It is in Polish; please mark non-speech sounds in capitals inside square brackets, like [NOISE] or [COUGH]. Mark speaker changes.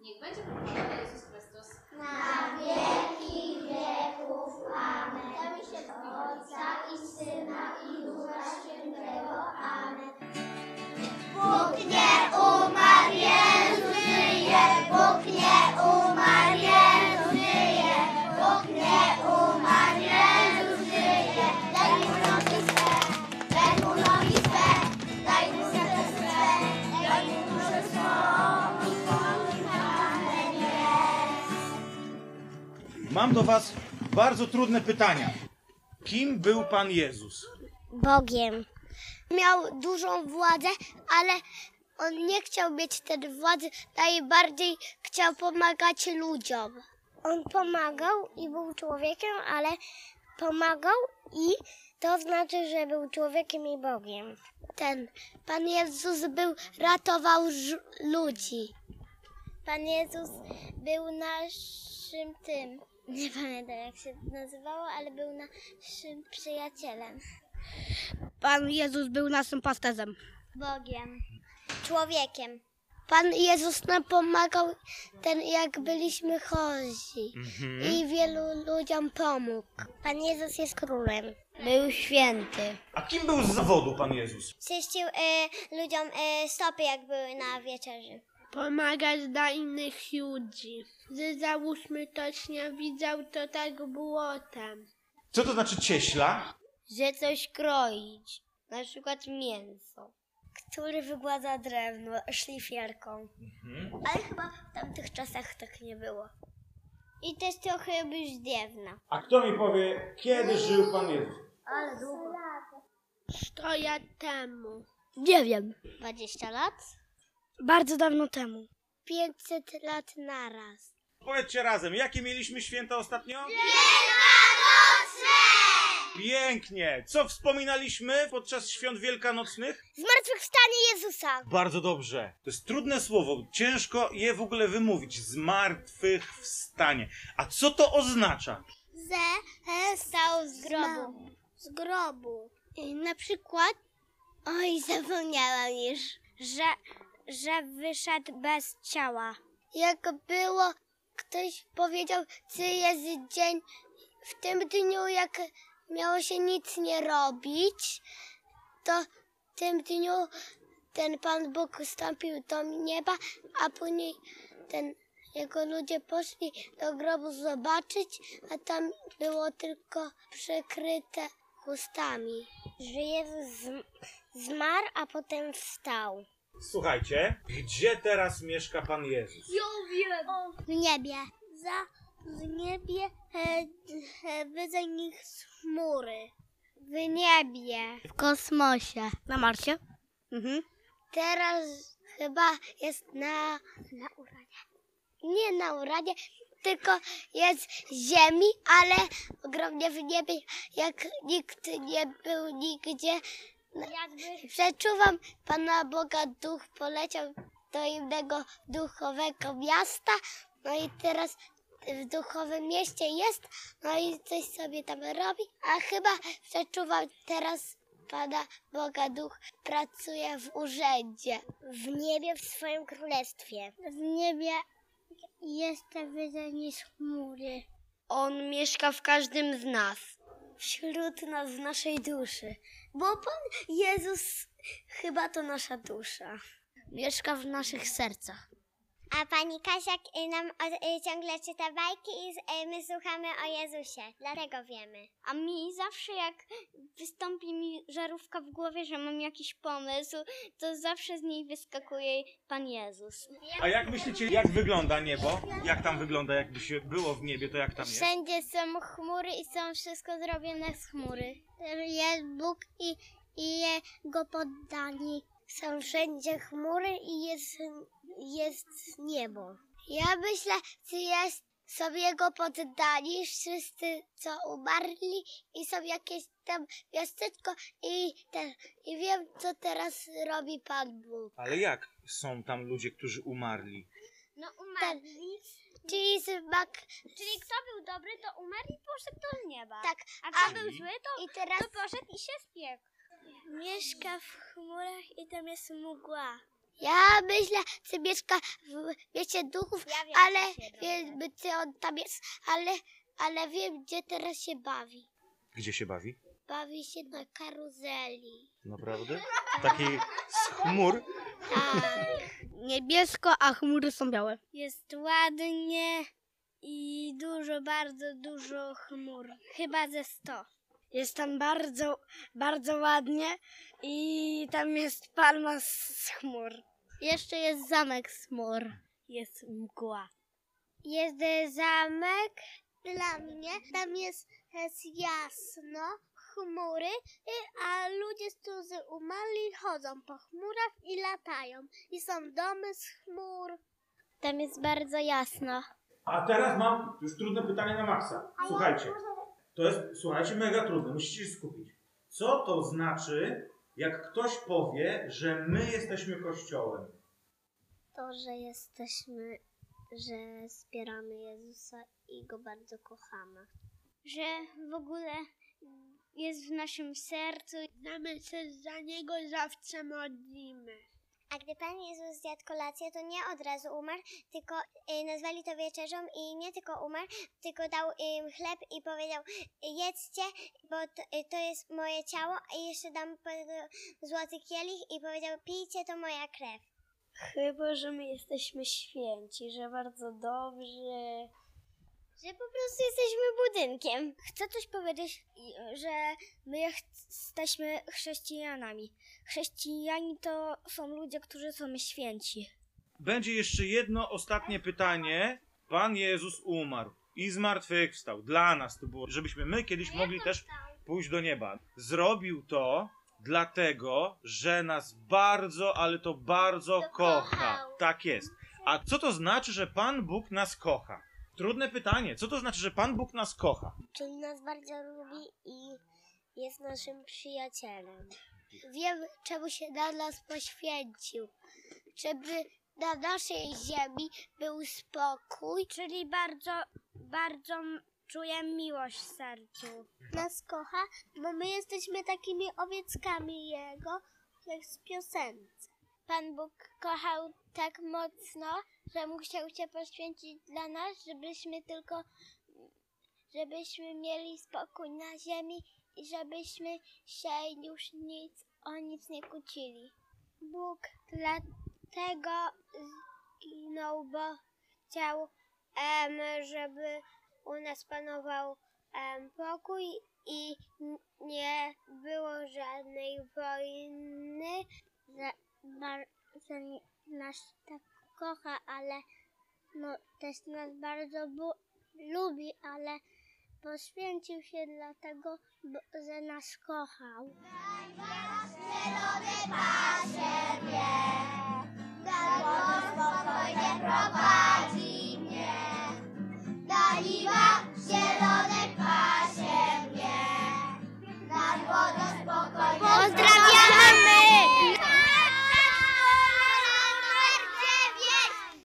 Speaker 1: Niech będzie pochwalony Jezus Chrystus.
Speaker 2: na wieki wieków. Amen. Damy się do Ojca i Syna i Ducha Świętego. Amen. Bóg nie umarł, Jezus żyje. Bóg nie umarł, Jezus żyje. Bóg nie umarł, Jezus żyje. Daj mu nogi swe, daj mu nogi swe, daj mu serce swe, daj mu duszę swą i pomóż nam, Jezus.
Speaker 3: Mam do Was bardzo trudne pytania. Kim był Pan Jezus?
Speaker 2: Bogiem. Miał dużą władzę, ale on nie chciał mieć tej władzy, najbardziej chciał pomagać ludziom. On pomagał i był człowiekiem, ale pomagał i to znaczy, że był człowiekiem i Bogiem. Ten Pan Jezus był, ratował ż- ludzi. Pan Jezus był naszym tym, [LAUGHS] nie pamiętam jak się nazywało, ale był naszym przyjacielem.
Speaker 4: Pan Jezus był naszym pasterzem.
Speaker 2: Bogiem, człowiekiem. Pan Jezus nam pomagał, ten jak byliśmy chorzy i wielu ludziom pomógł. Pan Jezus jest królem. Był święty.
Speaker 3: A kim był z zawodu Pan Jezus?
Speaker 2: Czyścił e, ludziom stopy, jak były na wieczerzy.
Speaker 4: Pomagać dla innych ludzi. Gdy załóżmy ktoś nie widział, to tak było tam.
Speaker 3: Co to znaczy cieśla?
Speaker 2: Że coś kroić, na przykład mięso. Który wygładza drewno szlifierką. Ale chyba w tamtych czasach tak nie było. I też trochę brzdewna.
Speaker 3: A kto mi powie, kiedy żył Pan Jezus?
Speaker 2: Ale długo.
Speaker 4: Sto lat temu.
Speaker 2: 20 lat?
Speaker 4: Bardzo dawno temu.
Speaker 2: 500 lat naraz.
Speaker 3: Powiedzcie razem, jakie mieliśmy święta ostatnio? Pięknie! Co wspominaliśmy podczas świąt wielkanocnych?
Speaker 2: Zmartwychwstanie Jezusa.
Speaker 3: Bardzo dobrze. To jest trudne słowo, ciężko je w ogóle wymówić. Zmartwychwstanie. A co to oznacza?
Speaker 2: Ze e, stał z grobu. Z grobu. Na przykład, oj, zapomniałam już, że, że wyszedł bez ciała. Jak było, ktoś powiedział, czy jest dzień w tym dniu, jak miało się nic nie robić, to w tym dniu ten Pan Bóg wstąpił do nieba, a później ten jego ludzie poszli do grobu zobaczyć, a tam było tylko przykryte chustami. Że Jezus zmarł, a potem wstał.
Speaker 3: Słuchajcie, gdzie teraz mieszka Pan Jezus?
Speaker 2: W niebie. Za w niebie e, e, wyza nich chmury. W niebie. W kosmosie.
Speaker 4: Na Marsie? Mhm.
Speaker 2: Teraz chyba jest na... Na uranie. Nie na uranie, tylko jest ziemi, ale ogromnie w niebie, jak nikt nie był nigdzie. No, Przeczuwam Pana Boga, duch poleciał do innego duchowego miasta, no i teraz w duchowym mieście jest, no i coś sobie tam robi, a chyba przeczuwam teraz Pana Boga Duch pracuje w urzędzie. W niebie, w swoim królestwie. W niebie jestem wyżej niż chmury. On mieszka w każdym z nas. Wśród nas, w naszej duszy. Bo Pan Jezus chyba to nasza dusza. Mieszka w naszych sercach.
Speaker 5: A pani Kasia y, nam o, y, ciągle czyta bajki i z- y, my słuchamy o Jezusie, dlatego wiemy. A mi zawsze jak wystąpi mi żarówka w głowie, że mam jakiś pomysł, to zawsze z niej wyskakuje Pan Jezus.
Speaker 3: A jak myślicie, jak wygląda niebo? Jak tam wygląda, jakby się było w niebie, to jak tam jest?
Speaker 2: Wszędzie są chmury i są wszystko zrobione z chmury. Jest Bóg i, i jego poddani. Są wszędzie chmury i jest, jest niebo. Ja myślę, czy jest, są jego poddani, wszyscy co umarli i są jakieś tam miasteczko i, te, i wiem, co teraz robi Pan Bóg.
Speaker 3: Ale jak są tam ludzie, którzy umarli?
Speaker 5: No
Speaker 2: Ten, czyli zmak,
Speaker 5: Czyli kto był dobry, to umarł i poszedł do nieba.
Speaker 2: tak,
Speaker 5: A
Speaker 2: kto
Speaker 3: był zły,
Speaker 5: to,
Speaker 2: i teraz...
Speaker 5: poszedł i się spiekł.
Speaker 2: Mieszka w chmurach i tam jest mgła.
Speaker 5: Ja myślę, że mieszka w mieście duchów,
Speaker 2: Ja wiem,
Speaker 5: ale
Speaker 2: co się robi.
Speaker 5: wiem, gdzie on tam jest, ale, ale wiem, gdzie teraz się bawi.
Speaker 3: Gdzie się bawi?
Speaker 5: Bawi się na karuzeli.
Speaker 3: Naprawdę? Taki z chmur.
Speaker 5: Tak.
Speaker 6: Niebiesko, a chmury są białe.
Speaker 2: Jest ładnie i dużo, bardzo dużo chmur. Chyba ze 100.
Speaker 6: Jest tam bardzo, bardzo ładnie i tam jest palma z chmur.
Speaker 2: Jeszcze jest zamek Smur.
Speaker 6: Jest mgła.
Speaker 2: Jest e, zamek dla mnie. Tam jest, jest jasno, chmury, i- a ludzie, którzy umarli, chodzą po chmurach i latają. I są domy z chmur. Tam jest bardzo jasno.
Speaker 3: A teraz mam już trudne pytanie na maksa. Słuchajcie. To jest, słuchajcie, mega trudne. Musicie się skupić. Co to znaczy, jak ktoś powie, że my jesteśmy kościołem?
Speaker 2: To, że jesteśmy, że wspieramy Jezusa i Go bardzo kochamy. Że w ogóle jest w naszym sercu.
Speaker 6: Znamy się za niego i zawsze modlimy.
Speaker 2: A gdy Pan Jezus zjadł kolację, to nie od razu umarł, tylko y, nazwali to wieczerzą i nie tylko umarł, tylko dał im chleb i powiedział jedzcie, bo to, y, to jest moje ciało, a jeszcze dam po- złoty kielich i powiedział pijcie, to moja krew.
Speaker 6: Chyba, że my jesteśmy święci, że bardzo dobrzy.
Speaker 2: Że po prostu jesteśmy budynkiem. Chcę coś powiedzieć, i- że my ch- jesteśmy chrześcijanami. Chrześcijani to są ludzie, którzy są święci.
Speaker 3: Będzie jeszcze jedno ostatnie pytanie. Pan Jezus umarł i zmartwychwstał. Dla nas to było, żebyśmy my kiedyś mogli też pójść do nieba. Zrobił to dlatego, że nas bardzo, ale to bardzo kocha. Tak jest. A co to znaczy, że Pan Bóg nas kocha? Trudne pytanie. Co to znaczy, że Pan Bóg nas kocha?
Speaker 2: Czyli nas bardzo lubi i jest naszym przyjacielem.
Speaker 5: Wiem, czemu się dla nas poświęcił. Żeby na naszej ziemi był spokój.
Speaker 2: Czyli bardzo, bardzo czuję miłość w sercu. Nas kocha, bo my jesteśmy takimi owieczkami Jego, jak z piosence. Pan Bóg kochał tak mocno, że musiał się poświęcić dla nas, żebyśmy tylko, żebyśmy mieli spokój na ziemi i żebyśmy się już nic o nic nie kłócili. Bóg dlatego zginął, bo chciał, em, żeby u nas panował em, pokój i n- nie było żadnej wojny, że bardzo nas tak kocha, ale no, też nas bardzo bu- lubi, ale poświęcił się dlatego, bo, że nas kochał. Najwasz zielony pasiewie, daj spokojnie.